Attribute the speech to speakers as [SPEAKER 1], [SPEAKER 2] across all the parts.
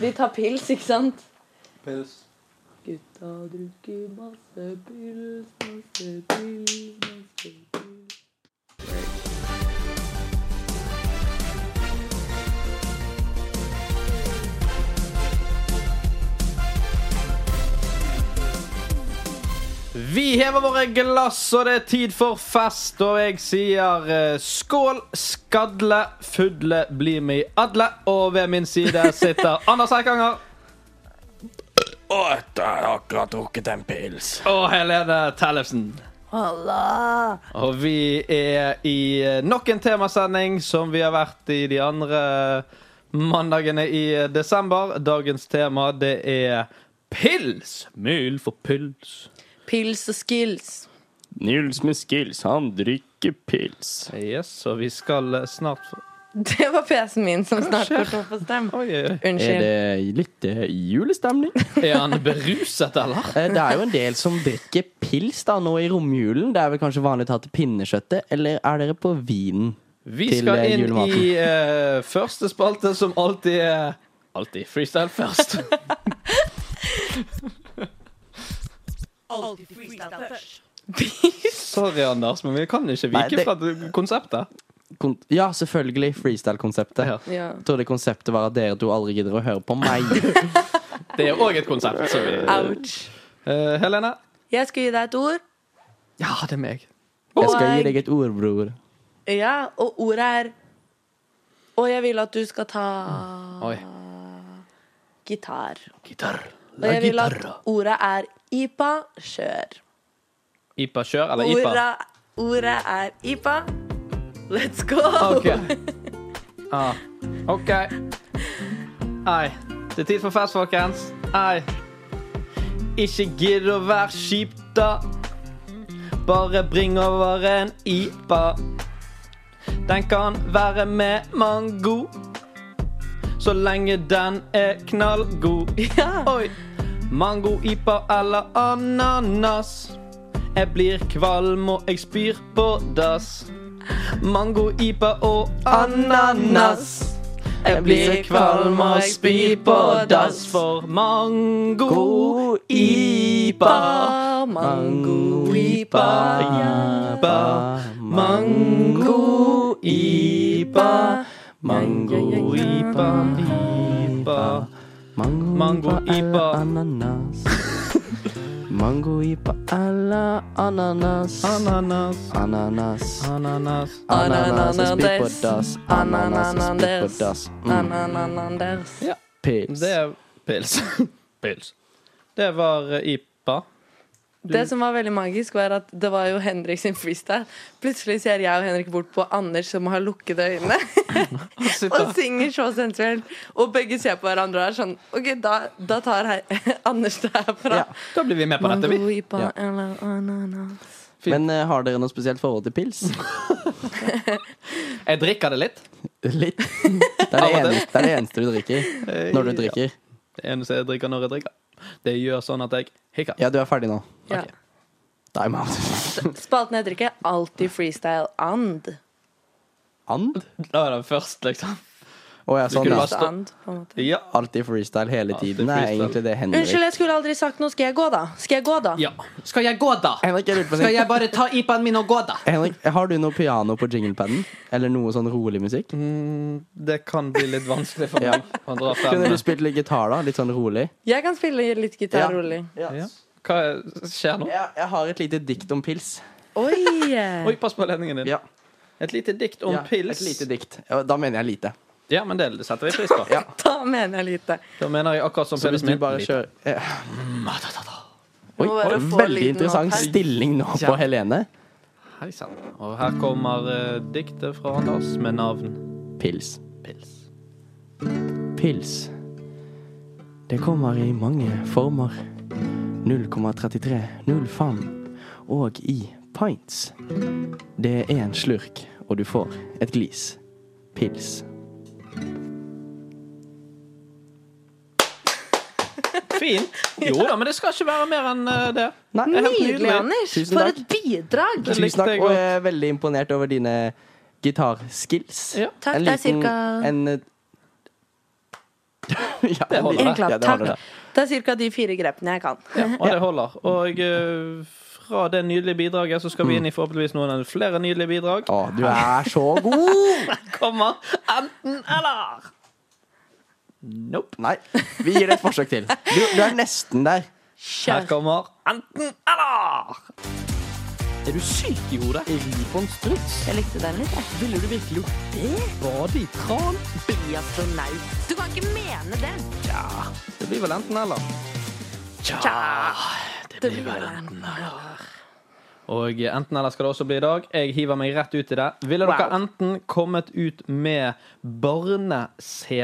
[SPEAKER 1] De tar pils, ikke sant?
[SPEAKER 2] Pils.
[SPEAKER 1] Gutta drukker masse pils, masse pils, masse pils.
[SPEAKER 3] Vi hever våre glass, og det er tid for fest. Og jeg sier eh, skål, skadle, fudle, bli med i adle. Og ved min side sitter Anders Eikanger
[SPEAKER 2] Å, jeg har akkurat drukket en pils.
[SPEAKER 3] og Helene Tellefsen.
[SPEAKER 1] Halla!
[SPEAKER 3] Og vi er i eh, nok en temasending som vi har vært i de andre eh, mandagene i eh, desember. Dagens tema, det er pils. Myl for pils.
[SPEAKER 1] Pils og skills.
[SPEAKER 4] Nils med skills, han drikker pils.
[SPEAKER 3] Yes, og vi skal eh, snart få
[SPEAKER 1] Det var PC-en min som snart går tom for strøm.
[SPEAKER 3] Oi, oi, oi.
[SPEAKER 4] Er
[SPEAKER 1] Unnskyld.
[SPEAKER 4] det litt eh, julestemning?
[SPEAKER 3] Er han beruset, eller?
[SPEAKER 4] Eh, Det er jo en del som drikker pils da nå i romjulen. Det er vel kanskje vanlig å ta til pinnekjøttet, eller er dere på vinen?
[SPEAKER 3] Vi
[SPEAKER 4] Til,
[SPEAKER 3] skal
[SPEAKER 4] eh,
[SPEAKER 3] inn
[SPEAKER 4] julematen.
[SPEAKER 3] i eh, første spalte, som alltid er Alltid freestyle først. Sorry, Anders, men vi kan ikke
[SPEAKER 4] Nei,
[SPEAKER 3] vike
[SPEAKER 4] det-
[SPEAKER 3] fra det- konseptet.
[SPEAKER 4] Kon ja, selvfølgelig. Freestyle-konseptet.
[SPEAKER 3] Ja.
[SPEAKER 1] Ja.
[SPEAKER 4] Jeg trodde konseptet var at dere to aldri gidder å høre på meg.
[SPEAKER 3] Det er òg et konsept. som vi-
[SPEAKER 1] Ouch.
[SPEAKER 3] Eh, Helene?
[SPEAKER 1] Jeg skal gi deg et ord.
[SPEAKER 3] Ja, det er meg.
[SPEAKER 4] Jeg skal gi deg et ord, bror.
[SPEAKER 1] Ja, og ordet er Og jeg vil at du skal ta
[SPEAKER 3] Oi.
[SPEAKER 1] gitar.
[SPEAKER 3] Gitar.
[SPEAKER 1] Og jeg vil at ordet er IPA kjør.
[SPEAKER 3] IPA kjør, eller IPA?
[SPEAKER 1] Ordet, ordet er IPA. Let's go!
[SPEAKER 3] OK. Ah. OK. Nei. Det er tid for fest, folkens. Nei. Ikke gidd å være kjip, da. Bare bring over en IPA. Den kan være med mango. Så lenge den er knallgod.
[SPEAKER 1] Ja.
[SPEAKER 3] Oi! Mango, IPA eller ananas. Jeg blir kvalm og jeg spyr på dass. Mango, IPA og ananas. Jeg blir kvalm og spyr på dass for mango, IPA.
[SPEAKER 1] IPA, mango, IPA, ja.
[SPEAKER 3] IPA, mango, IPA. Mango, IPA, IPA.
[SPEAKER 4] Mango,
[SPEAKER 3] Mango, ipa.
[SPEAKER 4] eller ananas. Mango, ipa eller ananas.
[SPEAKER 3] Ananas,
[SPEAKER 4] Ananas.
[SPEAKER 3] ananas.
[SPEAKER 4] Ananas er spytt på dass. Ananas er
[SPEAKER 1] Anananandes.
[SPEAKER 4] spytt på dass. Mm.
[SPEAKER 1] Anananandes.
[SPEAKER 3] Ja.
[SPEAKER 4] Pils.
[SPEAKER 3] Det er pils. pils. Det var eh, IPA.
[SPEAKER 1] Det som var veldig magisk, var at det var jo Henrik sin freestyle. Plutselig ser jeg og Henrik bort på Anders som har lukkede øyne, og synger så sensuelt. Og begge ser på hverandre og er sånn OK, da, da tar he- Anders det herfra.
[SPEAKER 4] Ja.
[SPEAKER 3] Da blir vi med på dette,
[SPEAKER 1] Mango,
[SPEAKER 3] vi.
[SPEAKER 1] ipa,
[SPEAKER 4] Ja.
[SPEAKER 1] eller ananas.
[SPEAKER 3] Fint.
[SPEAKER 4] Men eh, har dere noe spesielt forhold til pils?
[SPEAKER 3] Jeg drikker det litt.
[SPEAKER 4] Litt. Det er
[SPEAKER 3] Av
[SPEAKER 4] det,
[SPEAKER 3] og til.
[SPEAKER 4] eneste, det er det eneste du drikker når du drikker.
[SPEAKER 3] Det eneste jeg drikker når jeg drikker. Det gjør sånn at jeg hikker.
[SPEAKER 4] Ja, du er ferdig nå. altså,
[SPEAKER 1] Ja.
[SPEAKER 4] Time out.
[SPEAKER 1] Spalten heter ikke alltid freestyle and.
[SPEAKER 4] And?
[SPEAKER 3] Da er det først, liksom.
[SPEAKER 4] Å ja, sånn.
[SPEAKER 3] skulle
[SPEAKER 4] ja.
[SPEAKER 3] bare- stå-
[SPEAKER 1] And, på en måte.
[SPEAKER 3] Ja.
[SPEAKER 4] Alltid freestyle hele
[SPEAKER 3] Alltid
[SPEAKER 4] tiden. Det er
[SPEAKER 3] freestyle.
[SPEAKER 4] egentlig det Henrik
[SPEAKER 1] Unnskyld, jeg skulle aldri sagt noe. Skal jeg gå, da? Skal jeg gå, da?
[SPEAKER 3] ja. Skal jeg gå, da?
[SPEAKER 4] Henrik, jeg lurer på en ting.
[SPEAKER 3] bare ta IPA-en min og gå, da?
[SPEAKER 4] Henrik, har du noe piano på jinglepaden? Eller noe sånn rolig musikk?
[SPEAKER 3] Mm, Det kan bli litt vanskelig for
[SPEAKER 4] Ja.
[SPEAKER 3] meg å dra frem.
[SPEAKER 4] Kunne du spilt litt gitar, da? Litt sånn rolig?
[SPEAKER 1] Jeg kan spille litt gitar
[SPEAKER 4] Ja.
[SPEAKER 1] rolig.
[SPEAKER 3] Ja. Hva skjer nå?
[SPEAKER 4] Jeg, jeg har et lite dikt om pils.
[SPEAKER 1] Oi!
[SPEAKER 3] Oi, pass på ledningen din.
[SPEAKER 4] Ja.
[SPEAKER 3] Et lite dikt om
[SPEAKER 4] Ja,
[SPEAKER 3] pils.
[SPEAKER 4] Et lite dikt. Ja, Da mener jeg lite.
[SPEAKER 3] Ja, men det setter vi pris på.
[SPEAKER 4] Ja.
[SPEAKER 1] Da mener jeg lite.
[SPEAKER 3] Da mener jeg akkurat som
[SPEAKER 4] Så hvis
[SPEAKER 3] penisen
[SPEAKER 4] du
[SPEAKER 3] min.
[SPEAKER 4] bare kjører eh, Oi,
[SPEAKER 1] Må bare
[SPEAKER 4] oi,
[SPEAKER 1] få
[SPEAKER 4] veldig
[SPEAKER 1] lyden
[SPEAKER 4] interessant
[SPEAKER 1] opp her.
[SPEAKER 4] stilling nå på
[SPEAKER 3] Ja.
[SPEAKER 4] Helene.
[SPEAKER 3] Hei sann. Og her kommer eh, diktet fra Anders med navn
[SPEAKER 4] Pils.
[SPEAKER 3] Pils.
[SPEAKER 4] Pils. Det kommer i mange former. 0,33, 05 og i pints. Det er en slurk, og du får et glis. Pils.
[SPEAKER 3] Fint. Jo da, men det skal ikke være mer enn eh, det.
[SPEAKER 4] Nei,
[SPEAKER 3] Det er helt
[SPEAKER 1] Nydelig, Anders.
[SPEAKER 4] Tusen
[SPEAKER 1] For
[SPEAKER 4] takk.
[SPEAKER 1] et bidrag.
[SPEAKER 3] Det
[SPEAKER 4] Tusen
[SPEAKER 3] likte
[SPEAKER 4] takk,
[SPEAKER 3] jeg
[SPEAKER 4] og
[SPEAKER 3] godt.
[SPEAKER 4] jeg er veldig imponert over dine gitarskills.
[SPEAKER 3] Ja.
[SPEAKER 1] Takk,
[SPEAKER 4] En
[SPEAKER 1] det er
[SPEAKER 4] liten-
[SPEAKER 1] cirka-
[SPEAKER 4] En, ja,
[SPEAKER 3] Det holder,
[SPEAKER 4] ja,
[SPEAKER 1] En klapp.
[SPEAKER 4] det holder det.
[SPEAKER 1] Takk. Det er ca. de fire grepene jeg kan.
[SPEAKER 3] Ja, og det holder. Og eh, fra det nydelige bidraget så skal vi inn i forhåpentligvis noen av flere nydelige bidrag.
[SPEAKER 4] Å, du er så god!
[SPEAKER 3] Kommer enten eller! Nope.
[SPEAKER 4] Nei, vi gir det et forsøk til. Du, du er nesten der.
[SPEAKER 3] Her
[SPEAKER 1] Kjør.
[SPEAKER 3] kommer enten eller! Er du syk i hodet?
[SPEAKER 1] Jeg likte den litt, jeg.
[SPEAKER 3] Ville du virkelig gjort det? Bade i tran?
[SPEAKER 1] Bli astronaut. Du kan ikke mene det.
[SPEAKER 3] Det blir vel enten eller.
[SPEAKER 1] Det blir bare
[SPEAKER 3] Og enten eller skal det også bli i dag. Jeg hiver meg rett ut i det. Ville dere
[SPEAKER 1] Wow.
[SPEAKER 3] enten kommet ut med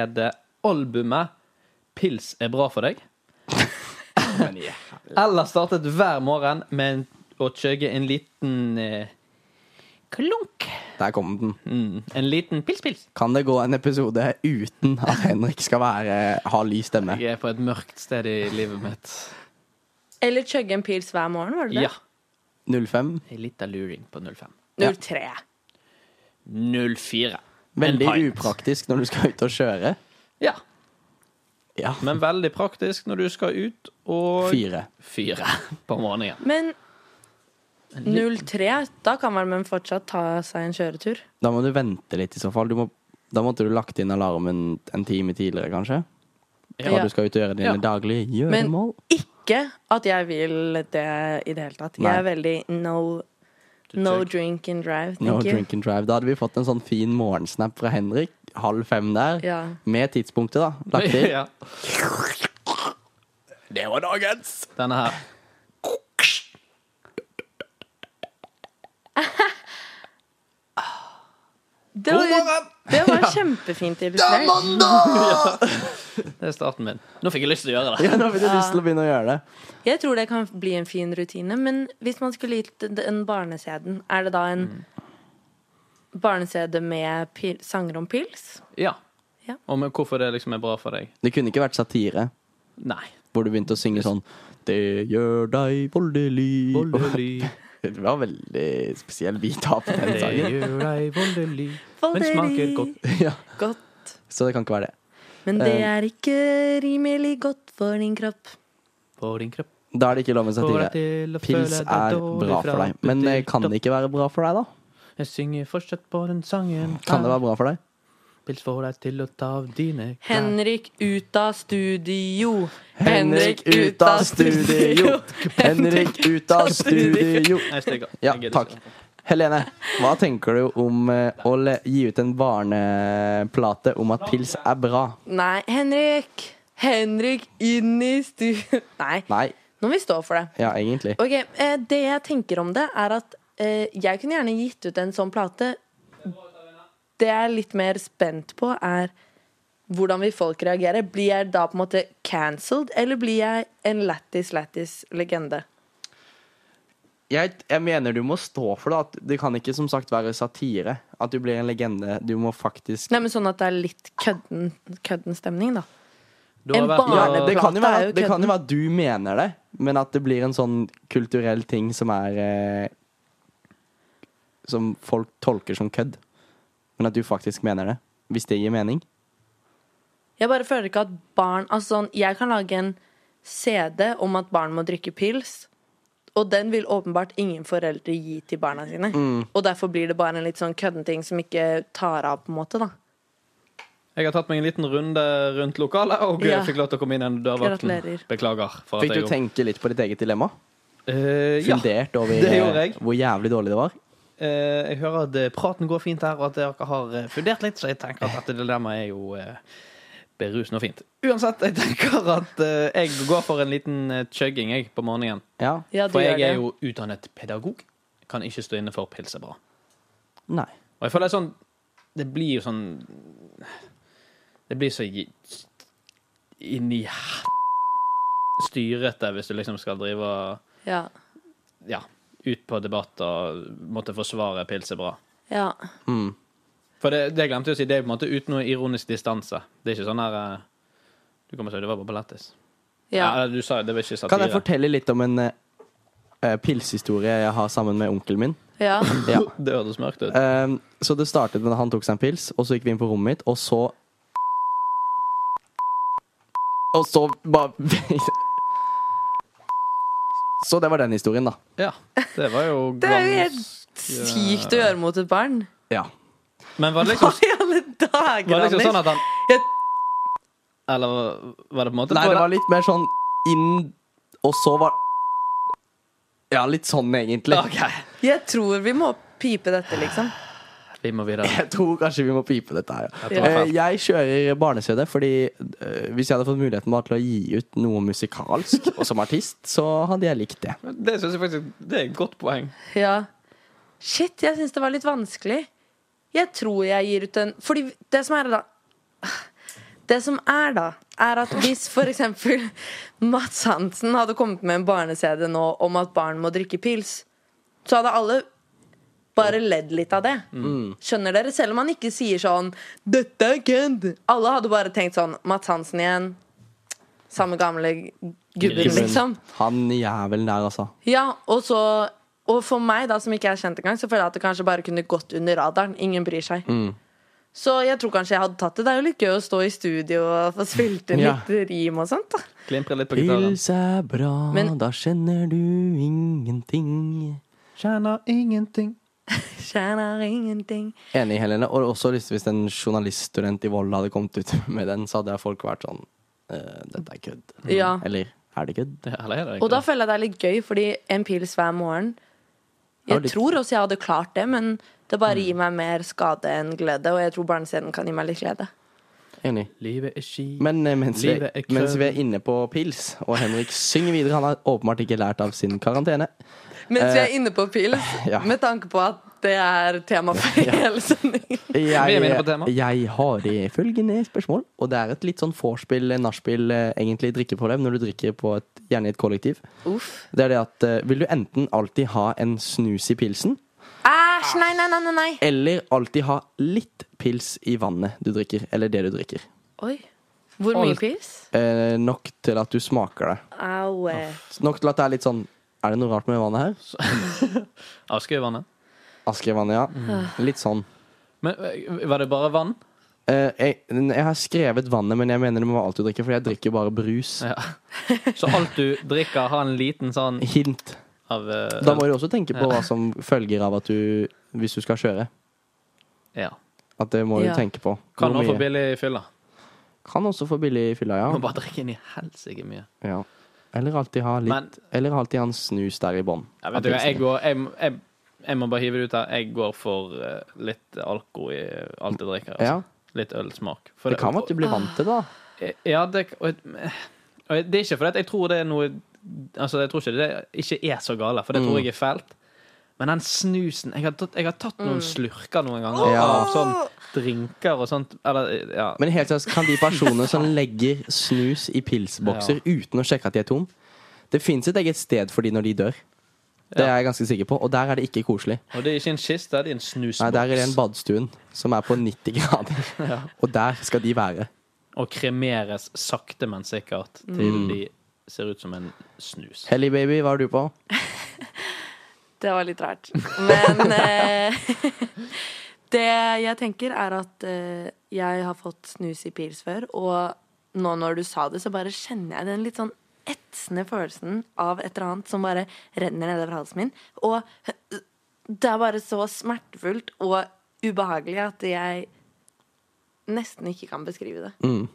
[SPEAKER 3] barne-CD-albumet 'Pils er bra for deg', eller startet hver morgen med en, å chugge en liten eh, klunk?
[SPEAKER 4] Der kom den.
[SPEAKER 3] Mm, en liten pils-pils.
[SPEAKER 4] Kan det gå en episode uten at Henrik skal være, ha ly stemme?
[SPEAKER 3] Jeg er på et mørkt sted i livet mitt.
[SPEAKER 1] Eller chugge en pils hver morgen, var det det?
[SPEAKER 3] Ja.
[SPEAKER 4] 05.
[SPEAKER 3] En liten luring på 05.
[SPEAKER 1] 03.
[SPEAKER 3] 04.
[SPEAKER 4] Veldig
[SPEAKER 3] En pint.
[SPEAKER 4] upraktisk når du skal ut og kjøre.
[SPEAKER 3] Ja.
[SPEAKER 4] Ja.
[SPEAKER 3] Men veldig praktisk når du skal ut og
[SPEAKER 4] Fire.
[SPEAKER 3] Fire på morgenen.
[SPEAKER 1] Men 03, da kan vel man fortsatt ta seg en kjøretur?
[SPEAKER 4] Da må du vente litt i så fall. Du må, da måtte du lagt inn alarmen en time tidligere, kanskje?
[SPEAKER 3] Ja.
[SPEAKER 4] Når du skal ut og gjøre dine
[SPEAKER 3] Ja.
[SPEAKER 4] daglige
[SPEAKER 1] Men
[SPEAKER 4] gjøremål.
[SPEAKER 1] ikke at jeg vil det i det hele tatt.
[SPEAKER 4] Nei.
[SPEAKER 1] Jeg er veldig no,
[SPEAKER 3] Du
[SPEAKER 1] no
[SPEAKER 3] tør-
[SPEAKER 1] drink and drive. Thank
[SPEAKER 4] No
[SPEAKER 1] you.
[SPEAKER 4] drink and drive. Da hadde vi fått en sånn fin morgensnap fra Henrik halv fem der,
[SPEAKER 1] Ja.
[SPEAKER 4] med tidspunktet, da. Lagt til.
[SPEAKER 3] Ja,
[SPEAKER 2] Det var dagens.
[SPEAKER 3] denne her.
[SPEAKER 1] Det var, det var kjempefint illustrert.
[SPEAKER 3] Det er starten min. Nå fikk jeg lyst til å gjøre det.
[SPEAKER 4] Ja, da fikk du lyst til å begynne å gjøre det.
[SPEAKER 1] Jeg tror det kan bli en fin rutine, men hvis man skulle gitt den barneseden, er det da en
[SPEAKER 4] Mm.
[SPEAKER 1] barnesede med pil, sanger om pils?
[SPEAKER 3] Ja.
[SPEAKER 1] Ja.
[SPEAKER 3] Og men hvorfor det liksom er bra for deg.
[SPEAKER 4] Det kunne ikke vært satire,
[SPEAKER 3] Nei.
[SPEAKER 4] hvor du begynte å synge sånn Det gjør deg voldelig.
[SPEAKER 3] Voldelig.
[SPEAKER 4] Det var veldig spesiell bit av på den
[SPEAKER 3] Det
[SPEAKER 4] sangen.
[SPEAKER 3] gjør deg voldelig. Men
[SPEAKER 1] Voldelig.
[SPEAKER 3] smaker godt.
[SPEAKER 4] Ja,
[SPEAKER 1] Godt.
[SPEAKER 4] så det kan ikke være det.
[SPEAKER 1] Men det
[SPEAKER 4] Eh.
[SPEAKER 1] er ikke rimelig godt for din kropp.
[SPEAKER 3] På din kropp.
[SPEAKER 4] Da er det ikke lov med
[SPEAKER 3] Får deg
[SPEAKER 4] satire.
[SPEAKER 3] til å
[SPEAKER 4] Pils
[SPEAKER 3] føle deg
[SPEAKER 4] er
[SPEAKER 3] dårlig
[SPEAKER 4] bra
[SPEAKER 3] fra
[SPEAKER 4] for deg. Men eh,
[SPEAKER 3] butikk
[SPEAKER 4] kan
[SPEAKER 3] opp.
[SPEAKER 4] det ikke være bra for deg, da?
[SPEAKER 3] Jeg synger fortsatt på den sangen.
[SPEAKER 4] Kan det være bra for deg?
[SPEAKER 3] Pils får deg til å ta av dine klær.
[SPEAKER 1] Henrik ut av studio.
[SPEAKER 4] Henrik ut av studio. Henrik ut av studio.
[SPEAKER 3] Jeg stikker.
[SPEAKER 4] Ja,
[SPEAKER 3] Jeg gidder
[SPEAKER 4] takk.
[SPEAKER 3] ikke.
[SPEAKER 4] Helene, hva tenker du om eh, å le- gi ut en barneplate om at pils er bra?
[SPEAKER 1] Nei, Henrik. Henrik inn i studio. Nei,
[SPEAKER 4] Nei.
[SPEAKER 1] nå må vi stå for det.
[SPEAKER 4] Ja, egentlig.
[SPEAKER 1] Ok, eh, Det jeg tenker om det, er at eh, jeg kunne gjerne gitt ut en sånn plate. Det jeg er litt mer spent på, er hvordan vil folk reagere. Blir jeg da på en måte cancelled, eller blir jeg en lættis-lættis-legende?
[SPEAKER 4] Jeg, jeg mener du må stå for det. At det kan ikke som sagt være satire. At du blir en legende. Du må faktisk
[SPEAKER 1] Nei, men Sånn at det er litt kødden, kødden stemning, da.
[SPEAKER 3] Du har
[SPEAKER 1] En
[SPEAKER 3] vært
[SPEAKER 4] ja,
[SPEAKER 1] barne-
[SPEAKER 3] på-
[SPEAKER 4] det, kan
[SPEAKER 1] Barneplate er
[SPEAKER 4] jo være,
[SPEAKER 1] jo
[SPEAKER 4] det kan
[SPEAKER 1] kødden.
[SPEAKER 4] jo være at du mener det, men at det blir en sånn kulturell ting som er eh, Som folk tolker som kødd. Men at du faktisk mener det. Hvis det gir mening.
[SPEAKER 1] Jeg bare føler ikke at barn Altså sånn, jeg kan lage en CD om at barn må drikke pils. Og den vil åpenbart ingen foreldre gi til barna sine.
[SPEAKER 3] Mm.
[SPEAKER 1] Og derfor blir det bare en litt sånn kødden ting som ikke tar av, på en måte, da.
[SPEAKER 3] Jeg har tatt meg en liten runde rundt lokalet og
[SPEAKER 1] Ja.
[SPEAKER 3] fikk lov til å komme inn gjennom dørvakten.
[SPEAKER 1] Gratulerer.
[SPEAKER 3] Beklager. For at
[SPEAKER 4] Fikk
[SPEAKER 3] jeg
[SPEAKER 4] du tenke litt på ditt eget dilemma?
[SPEAKER 3] Eh, ja.
[SPEAKER 4] Fundert over
[SPEAKER 3] det gjorde jeg.
[SPEAKER 4] eh, hvor jævlig dårlig det var?
[SPEAKER 3] Eh, jeg hører at eh, praten går fint her, og at dere har eh, fundert litt, så jeg tenker at dette dilemmaet er jo eh, berusende og fint. Uansett, jeg tenker at eh, jeg går for en liten eh, chugging jeg, på morgenen.
[SPEAKER 4] Ja?
[SPEAKER 1] Ja,
[SPEAKER 3] For jeg er jo utdannet pedagog. Kan ikke stå inne for pils er bra.
[SPEAKER 4] Nei.
[SPEAKER 3] Og jeg føler sånn Det blir jo sånn Det blir så gi- inni styrete hvis du liksom skal drive og
[SPEAKER 1] Ja.
[SPEAKER 3] ja, ut på debatt og måtte forsvare pils er bra.
[SPEAKER 1] ja.
[SPEAKER 4] Mm.
[SPEAKER 3] For det, det glemte jeg å si, det er på en måte uten noe ironisk distanse. Det er ikke sånn her eh, Du kan bare si det var bare lættis.
[SPEAKER 1] ja.
[SPEAKER 3] Ja, du sa det var ikke satire.
[SPEAKER 4] Kan jeg fortelle litt om en eh, eh, pilshistorie jeg har sammen med onkelen min?
[SPEAKER 1] ja.
[SPEAKER 4] Ja.
[SPEAKER 3] Det hørtes mørkt ut.
[SPEAKER 4] Ehm, så det startet med at han tok seg en pils, og så gikk vi inn på rommet mitt, og så Og så bare Så det var den historien, da.
[SPEAKER 3] Ja, det var jo
[SPEAKER 1] Det er jo helt
[SPEAKER 3] ganske-
[SPEAKER 1] sykt å gjøre mot et barn.
[SPEAKER 4] Ja.
[SPEAKER 3] Men var det liksom,
[SPEAKER 1] Hva i alle dager,
[SPEAKER 3] var det liksom
[SPEAKER 1] Anders?
[SPEAKER 3] sånn at han
[SPEAKER 1] Jeg-
[SPEAKER 3] Eller var det på en måte
[SPEAKER 4] Nei,
[SPEAKER 3] på
[SPEAKER 4] det var
[SPEAKER 3] den-
[SPEAKER 4] litt mer sånn inn, og så var Ja, litt sånn, egentlig.
[SPEAKER 3] Ok,
[SPEAKER 1] Jeg tror vi må pipe dette, liksom.
[SPEAKER 3] vi må videre.
[SPEAKER 4] Jeg tror kanskje vi må pipe dette her. ja.
[SPEAKER 1] Jeg tror det
[SPEAKER 4] Eh, Jeg kjører barne-CD fordi eh, hvis jeg hadde fått muligheten bare til å gi ut noe musikalsk og som artist, så hadde jeg likt det.
[SPEAKER 3] Det syns jeg faktisk Det er et godt poeng.
[SPEAKER 1] Ja. Shit, jeg syns det var litt vanskelig. Jeg tror jeg gir ut en Fordi det som er, da Det som er, da, er at hvis for eksempel Mats Hansen hadde kommet med en barne-CD nå om at barn må drikke pils, så hadde alle bare ledd litt av det. Skjønner dere? Selv om han ikke sier sånn 'Dette er kødd'. Alle hadde bare tenkt sånn Mats Hansen igjen. Samme gamle gubben,
[SPEAKER 3] Gubben.
[SPEAKER 1] liksom.
[SPEAKER 4] Han jævelen der, altså.
[SPEAKER 1] Ja, og så Og for meg, da, som ikke er kjent engang, så føler jeg at det kanskje bare kunne gått under radaren. Ingen bryr seg. Så jeg tror kanskje jeg hadde tatt det. Det er jo litt gøy å stå i studio og få spilt inn
[SPEAKER 4] Ja.
[SPEAKER 1] litt rim og sånt. da
[SPEAKER 3] Klimpre litt på gitaren.
[SPEAKER 4] Pils er bra,
[SPEAKER 1] Men-
[SPEAKER 4] da kjenner du ingenting.
[SPEAKER 3] Kjenner ingenting.
[SPEAKER 1] Tjener ingenting.
[SPEAKER 4] Enig, Helene. Og også hvis hvis en journaliststudent i Volda hadde kommet ut med den, så hadde folk vært sånn eh, Dette er kødd.
[SPEAKER 1] Ja.
[SPEAKER 4] Eller er det kødd?
[SPEAKER 3] Ja, eller er det
[SPEAKER 1] Og
[SPEAKER 3] ikke
[SPEAKER 1] da
[SPEAKER 3] det?
[SPEAKER 1] føler jeg det er litt gøy, fordi en pils hver morgen
[SPEAKER 4] Ja,
[SPEAKER 1] Jeg
[SPEAKER 4] litt-
[SPEAKER 1] tror også jeg hadde klart det, men det bare gir meg mer skade enn glede. Og jeg tror barnescenen kan gi meg litt glede.
[SPEAKER 4] Enig.
[SPEAKER 3] Livet er ski
[SPEAKER 4] Men eh, mens vi,
[SPEAKER 3] Livet er kødd.
[SPEAKER 4] mens vi er inne på pils, og Henrik synger videre Han har åpenbart ikke lært av sin karantene.
[SPEAKER 1] Mens vi
[SPEAKER 4] Eh,
[SPEAKER 1] er inne på pils,
[SPEAKER 4] ja.
[SPEAKER 1] med tanke på at det er tema for hele sendingen.
[SPEAKER 3] Vi er inne på
[SPEAKER 4] Jeg, eh,
[SPEAKER 3] tema.
[SPEAKER 4] jeg har i følgende spørsmål, og det er et litt sånn vorspiel, eh, nachspiel, eh, egentlig drikkeproblem når du drikker på et, gjerne i et kollektiv.
[SPEAKER 1] Uff.
[SPEAKER 4] Det er det at eh, vil du enten alltid ha en snus i pilsen,
[SPEAKER 1] Æsj, nei, nei, nei, nei, nei.
[SPEAKER 4] eller alltid ha litt pils i vannet du drikker, eller det du drikker.
[SPEAKER 1] Oi. Hvor mye
[SPEAKER 3] Alt.
[SPEAKER 1] pils?
[SPEAKER 4] Eh, nok til at du smaker det.
[SPEAKER 1] Au. eh.
[SPEAKER 4] Nok til at det er litt sånn Er det noe rart med vannet her?
[SPEAKER 3] Aske i vannet.
[SPEAKER 4] Askevannet,
[SPEAKER 3] Mm.
[SPEAKER 4] ja. Litt sånn.
[SPEAKER 3] Men øh, var det bare vann?
[SPEAKER 4] Eh, jeg, jeg har skrevet vannet, men jeg mener det må være alt du drikker, for jeg drikker bare brus.
[SPEAKER 3] Ja. Så alt du drikker, har en liten sånn
[SPEAKER 4] Hint.
[SPEAKER 3] av øh,
[SPEAKER 4] Da må du også tenke på
[SPEAKER 3] Ja.
[SPEAKER 4] hva som følger av at du Hvis du skal kjøre.
[SPEAKER 3] ja.
[SPEAKER 4] At det må du
[SPEAKER 1] Ja.
[SPEAKER 4] tenke på.
[SPEAKER 3] Kan
[SPEAKER 4] Hvor
[SPEAKER 3] nå få
[SPEAKER 4] mye.
[SPEAKER 3] billig fylla.
[SPEAKER 4] kan også få billig i fylla,
[SPEAKER 3] Må
[SPEAKER 4] ja.
[SPEAKER 3] bare drikke inn i helsike mye.
[SPEAKER 4] ja. Eller alltid ha litt
[SPEAKER 3] Men
[SPEAKER 4] Eller alltid ha en snus der i bånn.
[SPEAKER 3] ja, vet du hva, jeg går jeg, jeg, jeg må bare hive det ut her. Jeg går for øh, litt alko i alt jeg drikker. Altså.
[SPEAKER 4] Ja,
[SPEAKER 3] Litt ølsmak. For
[SPEAKER 4] det kan være at du blir vant til det, da.
[SPEAKER 3] Ja, det, og, eh, og det er ikke fordi at jeg tror det er noe Altså, jeg tror ikke det ikke er så gale, for det
[SPEAKER 4] Mm.
[SPEAKER 3] tror jeg er fælt. Men den snusen Jeg har tatt, jeg har tatt
[SPEAKER 1] Mm.
[SPEAKER 3] noen slurker noen ganger
[SPEAKER 4] Ja.
[SPEAKER 3] av sånn drinker og sånt. Eller, eh, ja.
[SPEAKER 4] Men helt seriøst, kan de personene som legger snus i pilsbokser uten å sjekke at de er tom Det fins et eget sted for de når de dør. Det
[SPEAKER 3] Ja.
[SPEAKER 4] er jeg ganske sikker på. Og der er det ikke koselig.
[SPEAKER 3] Og det er ikke en kiste, det er en snusboks.
[SPEAKER 4] Nei, der er den badstuen som er på 90 grader. Og der skal de være.
[SPEAKER 3] og kremeres sakte, men sikkert til
[SPEAKER 4] Mm.
[SPEAKER 3] de ser ut som en snus.
[SPEAKER 4] Helly baby, hva har du på?
[SPEAKER 1] Det var litt rart. Men eh, det jeg tenker, er at eh, jeg har fått snus i pils før, og nå når du sa det, så bare kjenner jeg den litt sånn etsende følelsen av et eller annet som bare renner nedover halsen min. Og eh, det er bare så smertefullt og ubehagelig at jeg nesten ikke kan beskrive det.
[SPEAKER 3] Mm.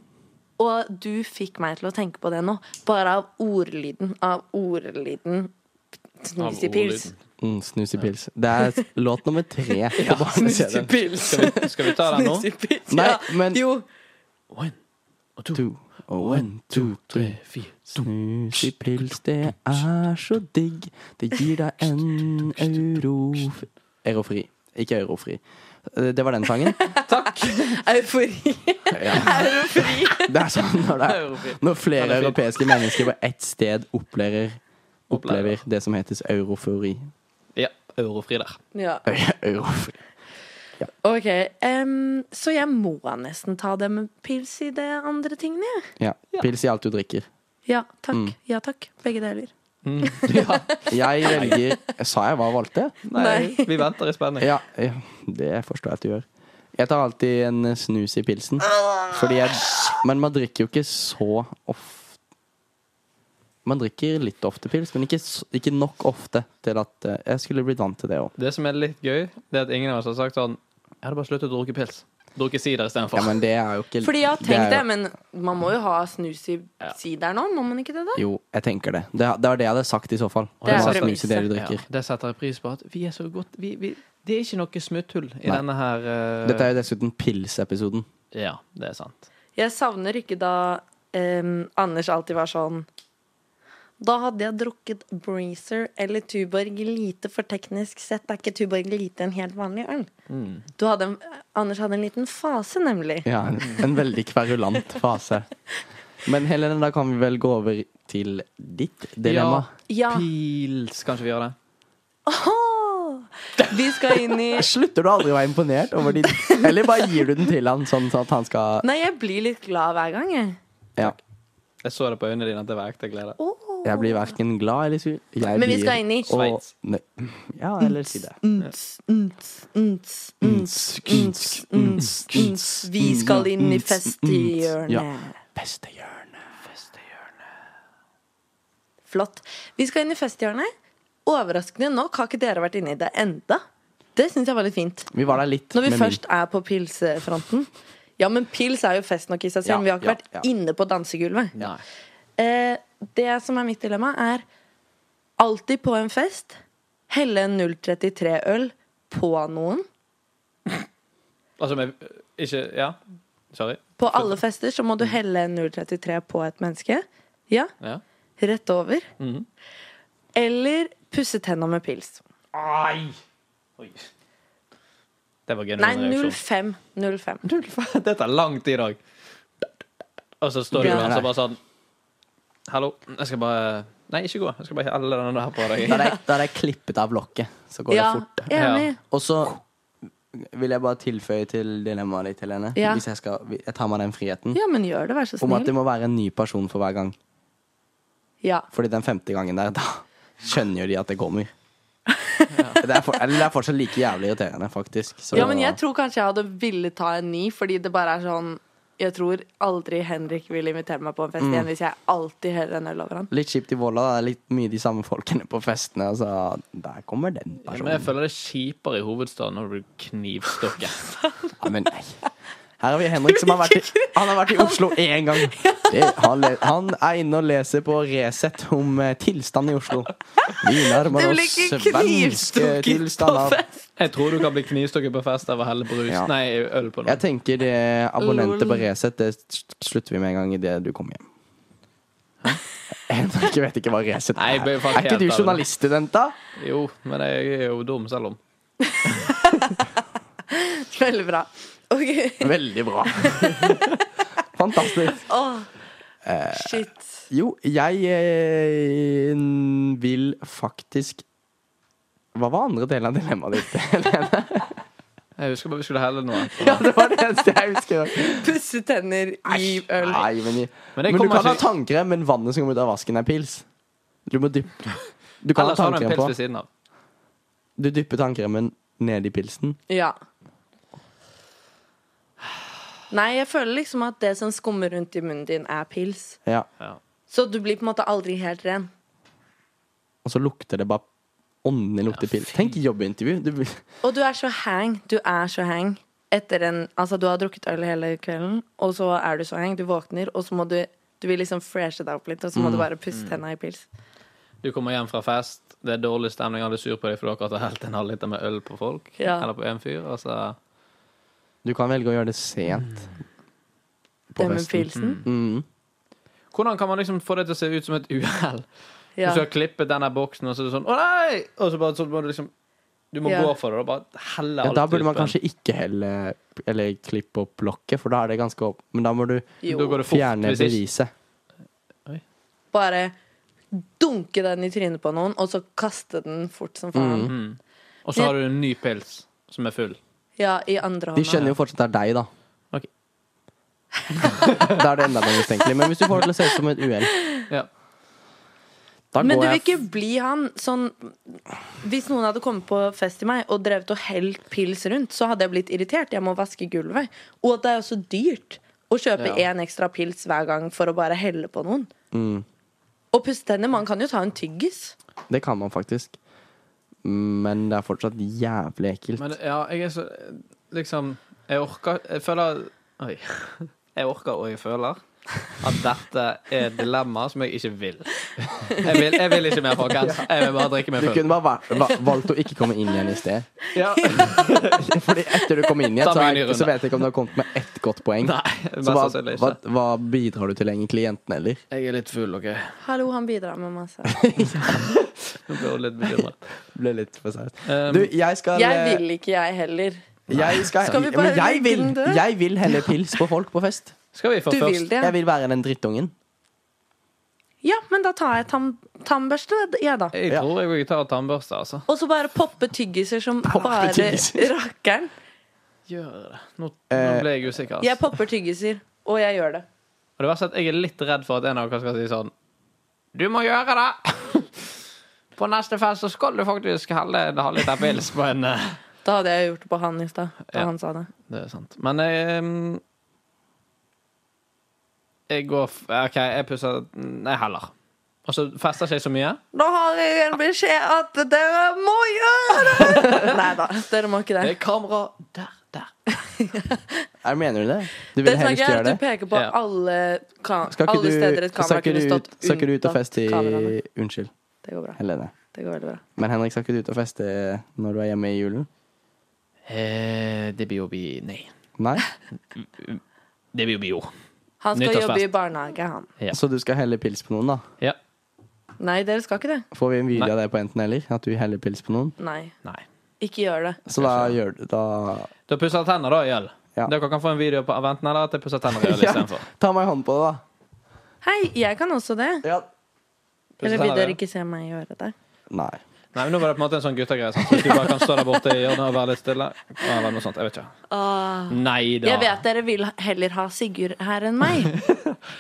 [SPEAKER 1] Og du fikk meg til å tenke på det nå, bare av ordlyden. Av ordlyden
[SPEAKER 3] Av
[SPEAKER 1] snus i pils.
[SPEAKER 3] ordlyden.
[SPEAKER 4] Mm, snus i pils. Det er låt nummer tre på barne-CD-en.
[SPEAKER 1] pils.
[SPEAKER 3] Skal vi ta den nå?
[SPEAKER 4] Nei, men
[SPEAKER 1] Jo.
[SPEAKER 3] One, og to,
[SPEAKER 4] To, og en, to, tre.
[SPEAKER 3] tre, fire.
[SPEAKER 4] Snus i pils, det er så digg. Det gir deg en euro... Eurofri. Ikke eurofri. Eh, Det var den sangen.
[SPEAKER 1] Eufori. Eurofri.
[SPEAKER 4] Det er sånn når, det
[SPEAKER 3] Eurofri.
[SPEAKER 4] er, når
[SPEAKER 3] Den
[SPEAKER 4] flere
[SPEAKER 3] er fin.
[SPEAKER 4] europeiske mennesker på ett sted opplever,
[SPEAKER 3] Opplever.
[SPEAKER 4] opplever det som heter eurofori.
[SPEAKER 3] Ja. Eurofri der.
[SPEAKER 1] Ja.
[SPEAKER 4] Eurofri.
[SPEAKER 1] OK. em, så jeg må nesten ta det med pils i de andre tingene, jeg.
[SPEAKER 4] Ja. Pils i alt du drikker.
[SPEAKER 1] Ja takk. Ja takk. Begge deler.
[SPEAKER 3] Ja.
[SPEAKER 4] Jeg velger Sa jeg hva jeg valgte?
[SPEAKER 3] Nei,
[SPEAKER 1] Nei.
[SPEAKER 3] vi venter i spenning.
[SPEAKER 4] Ja, ja, det forstår jeg at du gjør. Jeg tar alltid en eh, snus i pilsen. Fordi jeg Men man drikker jo ikke så ofte Man drikker litt ofte pils, men ikke, s- ikke nok ofte til at eh, Jeg skulle blitt vant til det òg.
[SPEAKER 3] Det som er litt gøy, det er at ingen av oss har sagt sånn Jeg hadde bare sluttet å drukke pils. Drukke sider
[SPEAKER 4] Ja,
[SPEAKER 3] istedenfor.
[SPEAKER 4] men det er jo ikke
[SPEAKER 1] Fordi jeg har
[SPEAKER 4] er
[SPEAKER 1] tenkt det,
[SPEAKER 4] jo-
[SPEAKER 1] men man må jo ha snus i
[SPEAKER 3] Ja.
[SPEAKER 1] sider nå, må man ikke det da?
[SPEAKER 4] Jo, jeg tenker det. Det, det var det jeg hadde sagt i så fall.
[SPEAKER 1] Det er
[SPEAKER 4] Om å ha
[SPEAKER 1] premisset.
[SPEAKER 4] snus i det du
[SPEAKER 3] Ja,
[SPEAKER 4] drikker.
[SPEAKER 3] det setter jeg pris på. At vi er så godt vi, vi, Det er ikke noe smutthull i
[SPEAKER 4] Nei.
[SPEAKER 3] denne her eh,
[SPEAKER 4] Dette er jo dessuten pilsepisoden.
[SPEAKER 3] Ja, det er sant.
[SPEAKER 1] Jeg savner ikke da em, Anders alltid var sånn Da hadde jeg drukket Breezer eller Tuborg lite, for teknisk sett er ikke Tuborg lite en helt vanlig øl. Du hadde en, Anders hadde en liten fase, nemlig.
[SPEAKER 4] Ja, en, en veldig kverulant fase. Men Helene, da kan vi vel gå over til ditt dilemma.
[SPEAKER 1] Ja.
[SPEAKER 3] Pils, kanskje vi gjør det?
[SPEAKER 1] Åh! Vi skal inn i
[SPEAKER 4] Slutter du aldri å være imponert over de Eller bare gir du den til han, sånn at han skal
[SPEAKER 1] Nei, jeg blir litt glad hver gang, jeg.
[SPEAKER 4] Ja.
[SPEAKER 3] Jeg så det på øynene dine at det var ekte glede.
[SPEAKER 1] Åh.
[SPEAKER 4] Jeg blir verken glad eller sur. Jeg
[SPEAKER 1] Men vi
[SPEAKER 4] blir-
[SPEAKER 1] skal inn i
[SPEAKER 4] og-
[SPEAKER 3] Sveits.
[SPEAKER 4] Nei. Ja, eller si det.
[SPEAKER 1] Nts, nts, nts, nts, nts, nts, nts. Vi skal inn i
[SPEAKER 4] Ja.
[SPEAKER 1] festhjørnet.
[SPEAKER 4] Festehjørnet.
[SPEAKER 1] Flott. Vi skal inn i festhjørnet. Overraskende nok har ikke dere vært inne i det enda. Det syns jeg var litt fint.
[SPEAKER 4] Vi var der litt.
[SPEAKER 1] Når vi
[SPEAKER 4] med min.
[SPEAKER 1] først er på pilsfronten. Ja, men pils er jo fest nok i seg selv.
[SPEAKER 4] Ja,
[SPEAKER 1] vi har ikke
[SPEAKER 4] ja,
[SPEAKER 1] vært
[SPEAKER 4] ja.
[SPEAKER 1] inne på dansegulvet.
[SPEAKER 3] Nei.
[SPEAKER 1] Eh, det som er mitt dilemma, er alltid på en fest helle en 033-øl på noen.
[SPEAKER 3] Altså, men ikke Ja, sorry.
[SPEAKER 1] På alle fester så må
[SPEAKER 4] Mm.
[SPEAKER 1] du helle en 033 på et menneske. Ja,
[SPEAKER 3] Ja.
[SPEAKER 1] rett over.
[SPEAKER 4] Mm.
[SPEAKER 1] Eller pusse tenna med pils.
[SPEAKER 3] Ai! Oi. Det var genuin
[SPEAKER 1] Nei,
[SPEAKER 3] reaksjon.
[SPEAKER 1] 05. 05.
[SPEAKER 3] Det tar lang tid i dag. Og så står du
[SPEAKER 1] Ja.
[SPEAKER 3] der og så bare sånn Hallo, jeg skal bare Nei, ikke gå. Jeg skal bare helle denne der på
[SPEAKER 4] Da
[SPEAKER 3] deg.
[SPEAKER 4] er det- da er det klippet av lokket, så går
[SPEAKER 1] Ja,
[SPEAKER 4] det fort.
[SPEAKER 1] enig.
[SPEAKER 4] Og så vil jeg bare tilføye til dilemmaet ditt, Helene.
[SPEAKER 1] Ja.
[SPEAKER 4] Hvis jeg, skal, jeg tar meg den friheten.
[SPEAKER 1] Ja, men gjør det, vær så
[SPEAKER 4] Om at det
[SPEAKER 1] snill.
[SPEAKER 4] må være en ny person for hver gang.
[SPEAKER 1] Ja.
[SPEAKER 4] Fordi den femte gangen der, da skjønner jo de at det kommer. Det, er for, eller det er fortsatt like jævlig irriterende, faktisk. Så-
[SPEAKER 1] ja, men jeg tror kanskje jeg hadde villet ta en ny, fordi det bare er sånn Jeg tror aldri Henrik vil invitere meg på en fest
[SPEAKER 4] Mm.
[SPEAKER 1] igjen hvis jeg alltid heller en øl over han.
[SPEAKER 4] Litt kjipt i Volda. da. Det er litt mye de samme folkene på festene. Altså, der kommer den
[SPEAKER 3] Ja, Men jeg
[SPEAKER 4] personen.
[SPEAKER 3] føler det er kjipere i hovedstaden når du blir knivstukket.
[SPEAKER 4] Ja, men nei. Her har vi Henrik som har vært i, han har vært i Oslo én gang. Det, han, le, han er inne og leser på Resett om eh, tilstanden i Oslo. Vi nærmer
[SPEAKER 1] Det blir
[SPEAKER 4] oss
[SPEAKER 1] ikke
[SPEAKER 4] svenske
[SPEAKER 1] knivstukket på
[SPEAKER 4] tilstander.
[SPEAKER 1] fest!
[SPEAKER 3] Jeg tror du kan bli knivstukket på fest av å helle brus.
[SPEAKER 4] Ja.
[SPEAKER 3] Nei, øl på noe.
[SPEAKER 4] Jeg tenker det abonnenter på
[SPEAKER 1] Lol.
[SPEAKER 4] Resett, det sl- slutter vi med en gang idet du kommer hjem. Henrik, jeg vet ikke hva Resett
[SPEAKER 3] Nei, jeg
[SPEAKER 4] er.
[SPEAKER 3] ble faktisk
[SPEAKER 4] Er
[SPEAKER 3] helt
[SPEAKER 4] ikke du
[SPEAKER 3] av det.
[SPEAKER 4] journaliststudent, da?
[SPEAKER 3] Jo, men jeg er jo dum selv om.
[SPEAKER 1] Veldig bra. Ok.
[SPEAKER 4] Veldig bra. Fantastisk.
[SPEAKER 1] Åh.
[SPEAKER 4] Eh.
[SPEAKER 1] Shit.
[SPEAKER 4] Jo, jeg eh, vil faktisk Hva var andre delen av dilemmaet ditt?
[SPEAKER 3] Jeg husker bare vi skulle helle noe.
[SPEAKER 4] ja, det var det eneste jeg husker.
[SPEAKER 1] Pusse tenner i øl.
[SPEAKER 4] Nei, men,
[SPEAKER 3] Men det
[SPEAKER 4] men du
[SPEAKER 3] kommer
[SPEAKER 4] kan ha
[SPEAKER 3] ikke-
[SPEAKER 4] tannkrem, men vannet som kommer ut av vasken, er pils. Du må dyppe Du kan
[SPEAKER 3] Ellers
[SPEAKER 4] ha
[SPEAKER 3] har du en
[SPEAKER 4] tannkrem
[SPEAKER 3] pils
[SPEAKER 4] på.
[SPEAKER 3] ved siden av.
[SPEAKER 4] Du dypper tannkremen ned i pilsen.
[SPEAKER 1] Ja. Nei, jeg føler liksom at det som skummer rundt i munnen din, er pils.
[SPEAKER 4] Ja.
[SPEAKER 3] Ja.
[SPEAKER 1] Så du blir på en måte aldri helt ren.
[SPEAKER 4] Og så lukter det bare Ånden lukter pils. Tenk jobbintervju. Du,
[SPEAKER 1] Og du er så hang. Du er så hang. Etter en, altså Du har drukket øl hele kvelden, og så er du så hang. Du våkner, og så må du Du vil liksom freshe deg opp litt, og så må
[SPEAKER 4] Mm.
[SPEAKER 1] du bare pusse tenna i pils.
[SPEAKER 3] Du kommer hjem fra fest, det er dårlig stemning, alle er sur på deg for du har akkurat har helt en halvliter med øl på folk.
[SPEAKER 1] Ja.
[SPEAKER 3] Eller på en fyr. Og så
[SPEAKER 4] du kan velge å gjøre det sent.
[SPEAKER 1] Det Eh, med
[SPEAKER 4] festen.
[SPEAKER 1] pilsen.
[SPEAKER 4] Mm.
[SPEAKER 3] Hvordan kan man liksom få det til å se ut som et uhell?
[SPEAKER 1] Ja.
[SPEAKER 3] Hvis du har klippet denne boksen, og så er det sånn Å, nei! Og så bare så må du liksom Du må
[SPEAKER 1] Ja.
[SPEAKER 3] gå for det og bare helle
[SPEAKER 4] Ja,
[SPEAKER 3] alt
[SPEAKER 4] da burde
[SPEAKER 3] ut
[SPEAKER 4] man
[SPEAKER 3] på en.
[SPEAKER 4] kanskje ikke helle Eller klippe opp lokket, for da er det ganske opp. Men da må du
[SPEAKER 3] Da
[SPEAKER 1] Jo.
[SPEAKER 3] går det fort.
[SPEAKER 4] fjerne
[SPEAKER 3] hvis ikke,
[SPEAKER 4] beviset.
[SPEAKER 1] Bare dunke den i trynet på noen, og så kaste den fort som faen.
[SPEAKER 4] Mm.
[SPEAKER 3] og så har du en ny pils som er full.
[SPEAKER 1] Ja, i andre
[SPEAKER 4] De
[SPEAKER 1] hånda.
[SPEAKER 4] skjønner jo fortsatt det er deg, da.
[SPEAKER 3] Ok.
[SPEAKER 4] da er det enda mer mistenkelig. Men hvis du får det til å se ut som et uhell
[SPEAKER 3] Ja.
[SPEAKER 4] Da
[SPEAKER 1] Men du
[SPEAKER 4] går
[SPEAKER 1] vil
[SPEAKER 4] jeg
[SPEAKER 1] ikke bli han sånn Hvis noen hadde kommet på fest til meg og drevet og helt pils rundt, så hadde jeg blitt irritert. Jeg må vaske gulvet. Og at det er også dyrt å kjøpe
[SPEAKER 3] Ja.
[SPEAKER 1] én ekstra pils hver gang for å bare helle på noen.
[SPEAKER 4] Mm.
[SPEAKER 1] Og pusse tenner. Man kan jo ta en tyggis.
[SPEAKER 4] Det kan man faktisk. Men det er fortsatt jævlig ekkelt.
[SPEAKER 3] Men ja, jeg er så Liksom, jeg orker Jeg føler Oi. Jeg orker og jeg føler at dette er et dilemma som jeg ikke vil. Jeg vil, jeg vil ikke mer, folkens. Jeg vil bare drikke meg
[SPEAKER 4] Du
[SPEAKER 3] full.
[SPEAKER 4] kunne bare va- va- valgt å ikke komme inn igjen i sted.
[SPEAKER 3] Ja.
[SPEAKER 4] Fordi etter du kom inn igjen,
[SPEAKER 3] Ta
[SPEAKER 4] så,
[SPEAKER 3] meg en ny
[SPEAKER 4] er,
[SPEAKER 3] runde.
[SPEAKER 4] så vet jeg ikke om du har kommet med ett godt poeng.
[SPEAKER 3] Nei, mest
[SPEAKER 4] så hva,
[SPEAKER 3] sannsynlig
[SPEAKER 4] hva,
[SPEAKER 3] ikke.
[SPEAKER 4] hva bidrar du til egentlig, jentene heller?
[SPEAKER 3] Jeg er litt full, OK?
[SPEAKER 1] Hallo, han bidrar med masse.
[SPEAKER 3] Nå blir hun litt bekymret.
[SPEAKER 4] Ble litt for seriøst.
[SPEAKER 3] Um,
[SPEAKER 4] Du, jeg skal eh,
[SPEAKER 1] Jeg vil ikke, jeg heller.
[SPEAKER 4] Jeg skal,
[SPEAKER 1] Skal vi
[SPEAKER 4] men
[SPEAKER 1] bare
[SPEAKER 4] jeg
[SPEAKER 1] legge
[SPEAKER 4] vil,
[SPEAKER 1] den død?
[SPEAKER 4] jeg vil helle pils på folk på fest.
[SPEAKER 3] skal vi få
[SPEAKER 1] Du vil
[SPEAKER 3] først
[SPEAKER 1] det?
[SPEAKER 4] Jeg vil være den drittungen.
[SPEAKER 1] Ja, men da tar jeg tam tannbørste, jeg, da.
[SPEAKER 3] Jeg
[SPEAKER 4] Ja.
[SPEAKER 3] tror jeg vil ta tannbørste, altså.
[SPEAKER 1] Og så bare poppe tyggiser som
[SPEAKER 4] Poppe
[SPEAKER 1] bare
[SPEAKER 4] tyggiser.
[SPEAKER 1] rakkeren.
[SPEAKER 3] Gjør det. Nå, nå
[SPEAKER 4] Eh,
[SPEAKER 3] ble jeg usikker.
[SPEAKER 1] Jeg
[SPEAKER 3] Altså.
[SPEAKER 1] popper tyggiser, og jeg gjør det.
[SPEAKER 3] Og det verste er at jeg er litt redd for at en av dere skal si sånn Du må gjøre det! På neste fest så skal du faktisk helle en halvliter pils på en eh,
[SPEAKER 1] Da hadde jeg gjort det på han i stad. Da
[SPEAKER 3] Ja.
[SPEAKER 1] han sa det.
[SPEAKER 3] Det er sant. Men jeg ehm, Jeg går f OK, jeg pusser Nei, heller. Og så fester ikke jeg så mye.
[SPEAKER 1] Da har jeg en beskjed at dere må gjøre det! Nei da, dere må ikke det.
[SPEAKER 3] er kamera der, der.
[SPEAKER 4] Jeg mener du det? Du
[SPEAKER 1] Det
[SPEAKER 4] vil helst
[SPEAKER 1] snakker jeg
[SPEAKER 4] gjøre
[SPEAKER 1] at du
[SPEAKER 4] det?
[SPEAKER 1] peker på
[SPEAKER 3] Ja.
[SPEAKER 1] alle, ka
[SPEAKER 4] Skal ikke
[SPEAKER 1] alle steder et
[SPEAKER 4] du, skal
[SPEAKER 1] kamera
[SPEAKER 4] ikke
[SPEAKER 1] kunne
[SPEAKER 4] du,
[SPEAKER 1] stått
[SPEAKER 4] ut- skal ikke du ut og
[SPEAKER 1] unntatt
[SPEAKER 4] feste i
[SPEAKER 1] kameraene.
[SPEAKER 4] Unnskyld,
[SPEAKER 1] Det går bra.
[SPEAKER 4] Helene.
[SPEAKER 1] Det går veldig bra.
[SPEAKER 4] Men Henrik, skal ikke du ut og feste når du er hjemme i julen?
[SPEAKER 3] Eh, det blir jo bi... Nei.
[SPEAKER 4] Nei?
[SPEAKER 3] Det blir jo bio.
[SPEAKER 1] Han skal
[SPEAKER 3] Nyttårsfest.
[SPEAKER 1] jobbe i barnehage, han.
[SPEAKER 3] Ja.
[SPEAKER 4] Så du skal helle pils på noen, da?
[SPEAKER 3] Ja.
[SPEAKER 1] Nei, dere skal ikke det.
[SPEAKER 4] Får vi en video av det på enten eller? At du heller pils på noen?
[SPEAKER 1] Nei,
[SPEAKER 3] Nei.
[SPEAKER 1] ikke gjør det.
[SPEAKER 4] Så da gjør du da
[SPEAKER 3] Du har pussa tenner, da, Gjell.
[SPEAKER 4] Ja.
[SPEAKER 3] Dere kan få en video på Aventen eller at jeg pusser tenner i øl
[SPEAKER 4] Ja,
[SPEAKER 3] istedenfor.
[SPEAKER 4] Ta meg i hånden på det,
[SPEAKER 1] Hei, jeg kan også det.
[SPEAKER 4] da. Ja.
[SPEAKER 3] Pusser
[SPEAKER 1] Eller vil
[SPEAKER 3] tenner, ja.
[SPEAKER 1] dere ikke se meg gjøre det?
[SPEAKER 4] Nei.
[SPEAKER 3] Nei, men Nå var det på en måte en sånn guttegreie. sant? Hvis du bare kan stå der borte i hjørnet og være litt stille. Eller noe sånt, jeg vet ikke.
[SPEAKER 1] Ah.
[SPEAKER 3] Nei da.
[SPEAKER 1] Jeg vet dere vil heller ha Sigurd her enn meg.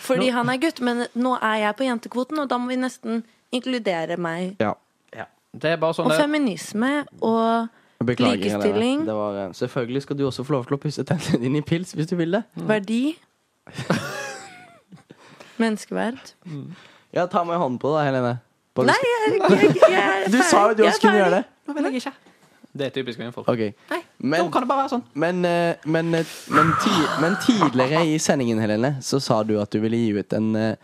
[SPEAKER 1] Fordi han er gutt, men nå er jeg på jentekvoten, og da må vi nesten inkludere meg.
[SPEAKER 4] Ja.
[SPEAKER 3] Ja. Det er bare sånn
[SPEAKER 1] Og
[SPEAKER 3] det er.
[SPEAKER 1] feminisme og
[SPEAKER 4] Beklager.
[SPEAKER 1] Likestilling.
[SPEAKER 4] Helene. Det var, eh, selvfølgelig skal du også få lov til å pusse tennene dine i pils hvis du vil det.
[SPEAKER 1] verdi. Menneskeverd.
[SPEAKER 4] Ja, ta meg i hånden på det, da, Helene. Bare-
[SPEAKER 1] Nei, jeg, jeg, jeg, jeg
[SPEAKER 4] du sa jo at du også skulle gjøre det.
[SPEAKER 3] Nå vil jeg ikke. Det er typisk kvinnfolk.
[SPEAKER 4] Ok.
[SPEAKER 1] Nei,
[SPEAKER 4] Men,
[SPEAKER 3] det bare være sånn.
[SPEAKER 4] men, eh, men, eh, men, ti, men tidligere i sendingen, Helene, så sa du at du ville gi ut en, eh,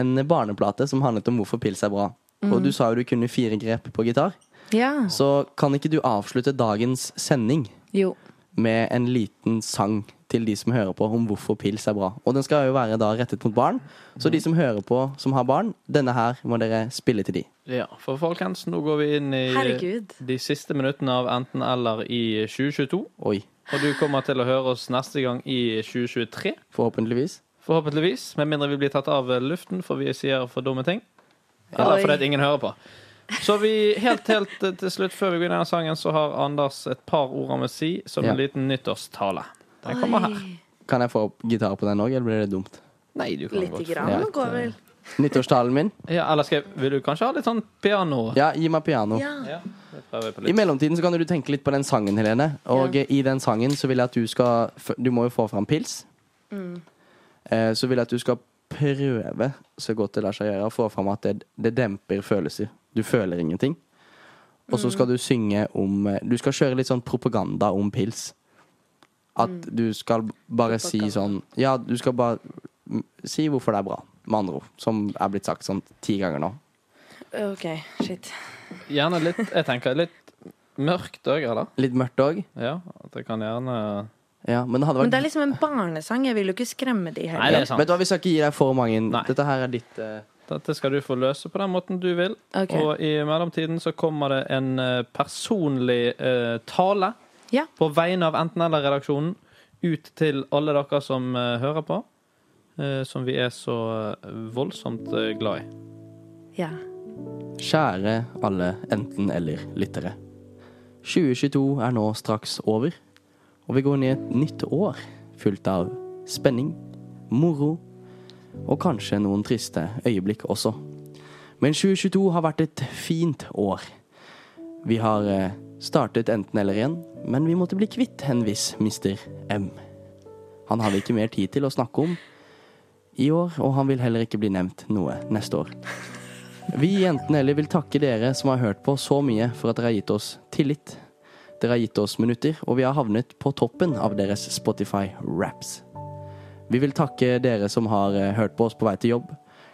[SPEAKER 4] en barneplate som handlet om hvorfor pils er bra.
[SPEAKER 1] Mm.
[SPEAKER 4] Og du sa jo du kunne fire grep på gitar.
[SPEAKER 1] Ja.
[SPEAKER 4] Så kan ikke du avslutte dagens sending
[SPEAKER 1] Jo.
[SPEAKER 4] med en liten sang til de som hører på, om hvorfor pils er bra. Og den skal jo være da rettet mot barn. Så de som hører på som har barn, denne her må dere spille til de.
[SPEAKER 3] Ja, for folkens, nå går vi inn i
[SPEAKER 1] Herregud.
[SPEAKER 3] de siste minuttene av Enten eller i 2022.
[SPEAKER 4] Oi.
[SPEAKER 3] Og du kommer til å høre oss neste gang i 2023.
[SPEAKER 4] Forhåpentligvis.
[SPEAKER 3] Forhåpentligvis. Med mindre vi blir tatt av luften, for vi sier for dumme ting. Eller
[SPEAKER 1] Oi.
[SPEAKER 3] fordi at ingen hører på. Så vi helt, helt eh, til slutt, før vi går inn i denne sangen, så har Anders et par ord han vil si som
[SPEAKER 4] Ja.
[SPEAKER 3] en liten nyttårstale. Den kommer her.
[SPEAKER 1] Oi,
[SPEAKER 4] Kan jeg få opp gitar på den òg, eller blir det dumt?
[SPEAKER 3] Nei, du kan
[SPEAKER 1] Lite
[SPEAKER 3] godt.
[SPEAKER 1] grann
[SPEAKER 4] Ja.
[SPEAKER 1] det går vel.
[SPEAKER 4] Nyttårstalen min?
[SPEAKER 3] Ja, eller skal jeg, vil du kanskje ha litt sånn piano?
[SPEAKER 4] Ja, gi meg piano.
[SPEAKER 1] Ja.
[SPEAKER 3] Ja, det prøver jeg på
[SPEAKER 4] I
[SPEAKER 3] litt.
[SPEAKER 4] mellomtiden så kan du tenke litt på den sangen, Helene. Og
[SPEAKER 1] Ja.
[SPEAKER 4] eh, i den sangen så vil jeg at du skal f- Du må jo få fram pils.
[SPEAKER 1] Mm.
[SPEAKER 4] Eh, Så vil jeg at du skal prøve så godt det lar seg gjøre å få fram at det, det demper følelser. Du føler ingenting. Og
[SPEAKER 1] Mm.
[SPEAKER 4] så skal du synge om eh, Du skal kjøre litt sånn propaganda om pils. At du skal b- bare si sånn
[SPEAKER 1] Mm. Propaganda.
[SPEAKER 4] Ja, du skal bare mm, si hvorfor det er bra, med andre ord. Som er blitt sagt sånn ti ganger nå.
[SPEAKER 1] OK, shit.
[SPEAKER 3] Gjerne litt, jeg tenker litt mørkt òg, eller?
[SPEAKER 4] Litt mørkt òg.
[SPEAKER 3] Ja, at jeg kan gjerne
[SPEAKER 4] Ja, men det hadde vært
[SPEAKER 1] Men det er liksom en barnesang. Jeg vil jo ikke skremme de
[SPEAKER 3] Nei, det
[SPEAKER 1] heller.
[SPEAKER 3] er sant.
[SPEAKER 4] Vet du hva, Vi skal ikke gi deg for mange.
[SPEAKER 3] Nei.
[SPEAKER 4] Dette her er ditt eh,
[SPEAKER 3] Dette skal du få løse på den måten du vil.
[SPEAKER 1] Ok.
[SPEAKER 3] Og i mellomtiden så kommer det en eh, personlig eh, tale
[SPEAKER 1] Ja.
[SPEAKER 3] på vegne av enten-eller-redaksjonen ut til alle dere som eh, hører på, eh, som vi er så eh, voldsomt eh, glad i.
[SPEAKER 1] Ja.
[SPEAKER 4] Kjære alle enten-eller-lyttere. 2022 er nå straks over, og vi går inn i et nytt år fullt av spenning, moro og kanskje noen triste øyeblikk også. Men 2022 har vært et fint år. Vi har eh, startet enten eller igjen, men vi måtte bli kvitt en viss Mr. M. Han har vi ikke mer tid til å snakke om i år, og han vil heller ikke bli nevnt noe neste år. Vi i Jentene Eller vil takke dere som har hørt på så mye for at dere har gitt oss tillit. Dere har gitt oss minutter, og vi har havnet på toppen av deres Spotify-raps. Vi vil takke dere som har eh, hørt på oss på vei til jobb.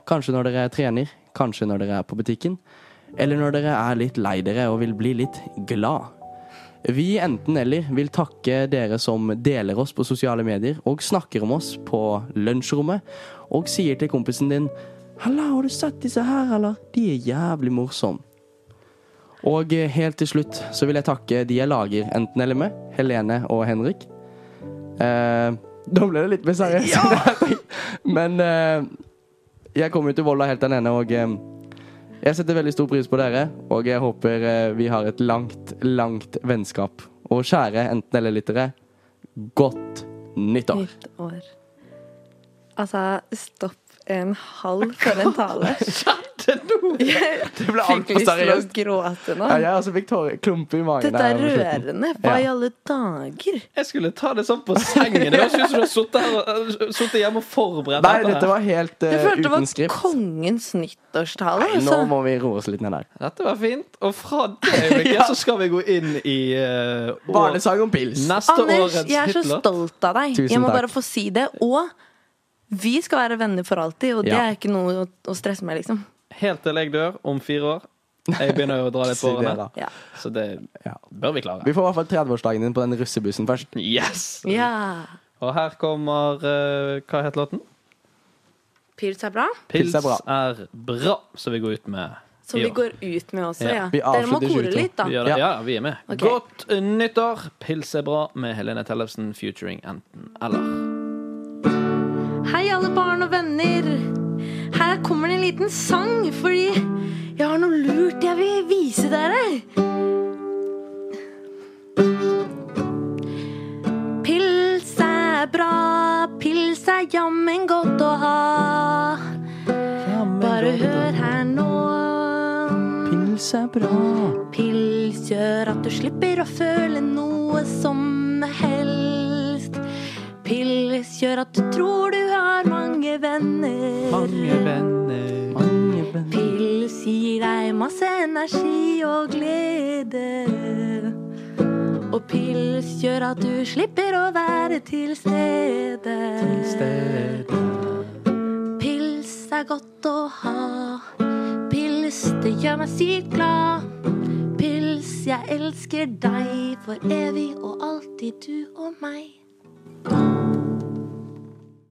[SPEAKER 4] Kanskje når dere trener, kanskje når dere er på butikken. Eller når dere er litt lei dere og vil bli litt glad. Vi i enten eller vil takke dere som deler oss på sosiale medier og snakker om oss på lunsjrommet og sier til kompisen din 'Halla, har du sett disse her, eller? De er jævlig morsomme'. Og eh, helt til slutt så vil jeg takke de jeg lager enten eller med, Helene og Henrik. Eh, da ble det litt mer seriøst. Men eh, jeg kom jo til Volda helt alene, og eh, jeg setter veldig stor pris på dere. Og jeg håper eh, vi har et langt, langt vennskap. Og kjære enten eller lyttere, godt nyttår.
[SPEAKER 1] Nytt år. Altså, stopp en halv for en tale. Jeg
[SPEAKER 4] Det ble
[SPEAKER 1] fikk lyst til å gråte nå.
[SPEAKER 4] Ja, jeg også fikk tårer- klumper i magen.
[SPEAKER 1] Dette er
[SPEAKER 4] her på slutten.
[SPEAKER 1] rørende. Hva i
[SPEAKER 4] Ja.
[SPEAKER 1] alle dager?
[SPEAKER 3] Jeg skulle ta det sånn på sengen. Det høres ut som du har sittet her og- sittet hjemme og forberedt
[SPEAKER 4] Nei,
[SPEAKER 3] dette her.
[SPEAKER 4] dette var helt eh,
[SPEAKER 1] Jeg følte det
[SPEAKER 4] uten
[SPEAKER 1] var
[SPEAKER 4] skript.
[SPEAKER 1] kongens nyttårstale.
[SPEAKER 4] Nei, nå
[SPEAKER 1] Altså.
[SPEAKER 4] må vi roe oss litt ned der.
[SPEAKER 3] Dette var fint. Og fra det øyeblikket så skal vi gå inn i eh, år-
[SPEAKER 4] Barnesang om pils.
[SPEAKER 3] neste
[SPEAKER 1] Anders,
[SPEAKER 3] årets
[SPEAKER 1] jeg er så
[SPEAKER 3] hitlåt.
[SPEAKER 1] stolt av deg.
[SPEAKER 4] Tusen
[SPEAKER 1] Jeg må
[SPEAKER 4] takk.
[SPEAKER 1] bare få si det. Og vi skal være venner for alltid, og det
[SPEAKER 4] Ja.
[SPEAKER 1] er ikke noe å- å stresse med, liksom.
[SPEAKER 3] Helt til jeg dør om fire år. Jeg begynner jo å dra litt på
[SPEAKER 4] Si det,
[SPEAKER 3] årene,
[SPEAKER 4] da.
[SPEAKER 1] Ja.
[SPEAKER 3] så det
[SPEAKER 4] Ja.
[SPEAKER 3] bør vi klare.
[SPEAKER 4] Vi får i hvert fall 30-årsdagen din på den russebussen først.
[SPEAKER 3] Yes!
[SPEAKER 1] ja.
[SPEAKER 3] Og her kommer eh, Hva het låten?
[SPEAKER 1] Pils er bra.
[SPEAKER 4] Pils er bra.
[SPEAKER 3] er bra, som vi går ut med.
[SPEAKER 1] Som
[SPEAKER 3] i
[SPEAKER 1] vi
[SPEAKER 3] år.
[SPEAKER 1] går ut med også,
[SPEAKER 3] Ja.
[SPEAKER 1] ja.
[SPEAKER 4] Vi
[SPEAKER 1] Dere må
[SPEAKER 4] avslutter
[SPEAKER 1] kore
[SPEAKER 4] 22.
[SPEAKER 1] litt, da.
[SPEAKER 3] Vi gjør det.
[SPEAKER 4] Ja.
[SPEAKER 3] Ja, ja, vi er med.
[SPEAKER 1] Ok.
[SPEAKER 3] Godt nyttår! Pils er bra med Helene Tellefsen featuring enten eller.
[SPEAKER 1] Hei, alle barn og venner. Her kommer det en liten sang, fordi jeg har noe lurt jeg vil vise dere. Pils er bra, pils er jammen godt å ha. Bare hør her nå.
[SPEAKER 4] Pils er bra.
[SPEAKER 1] Pils gjør at du slipper å føle noe som helst. Pils gjør at du tror du har mange venner.
[SPEAKER 3] Mange venner
[SPEAKER 4] Mange venner.
[SPEAKER 1] Pils gir deg masse energi og glede. Og pils gjør at du slipper å være til stede. Pils er godt å ha. Pils, det gjør meg sykt glad. Pils, jeg elsker deg for evig og alltid, du og meg.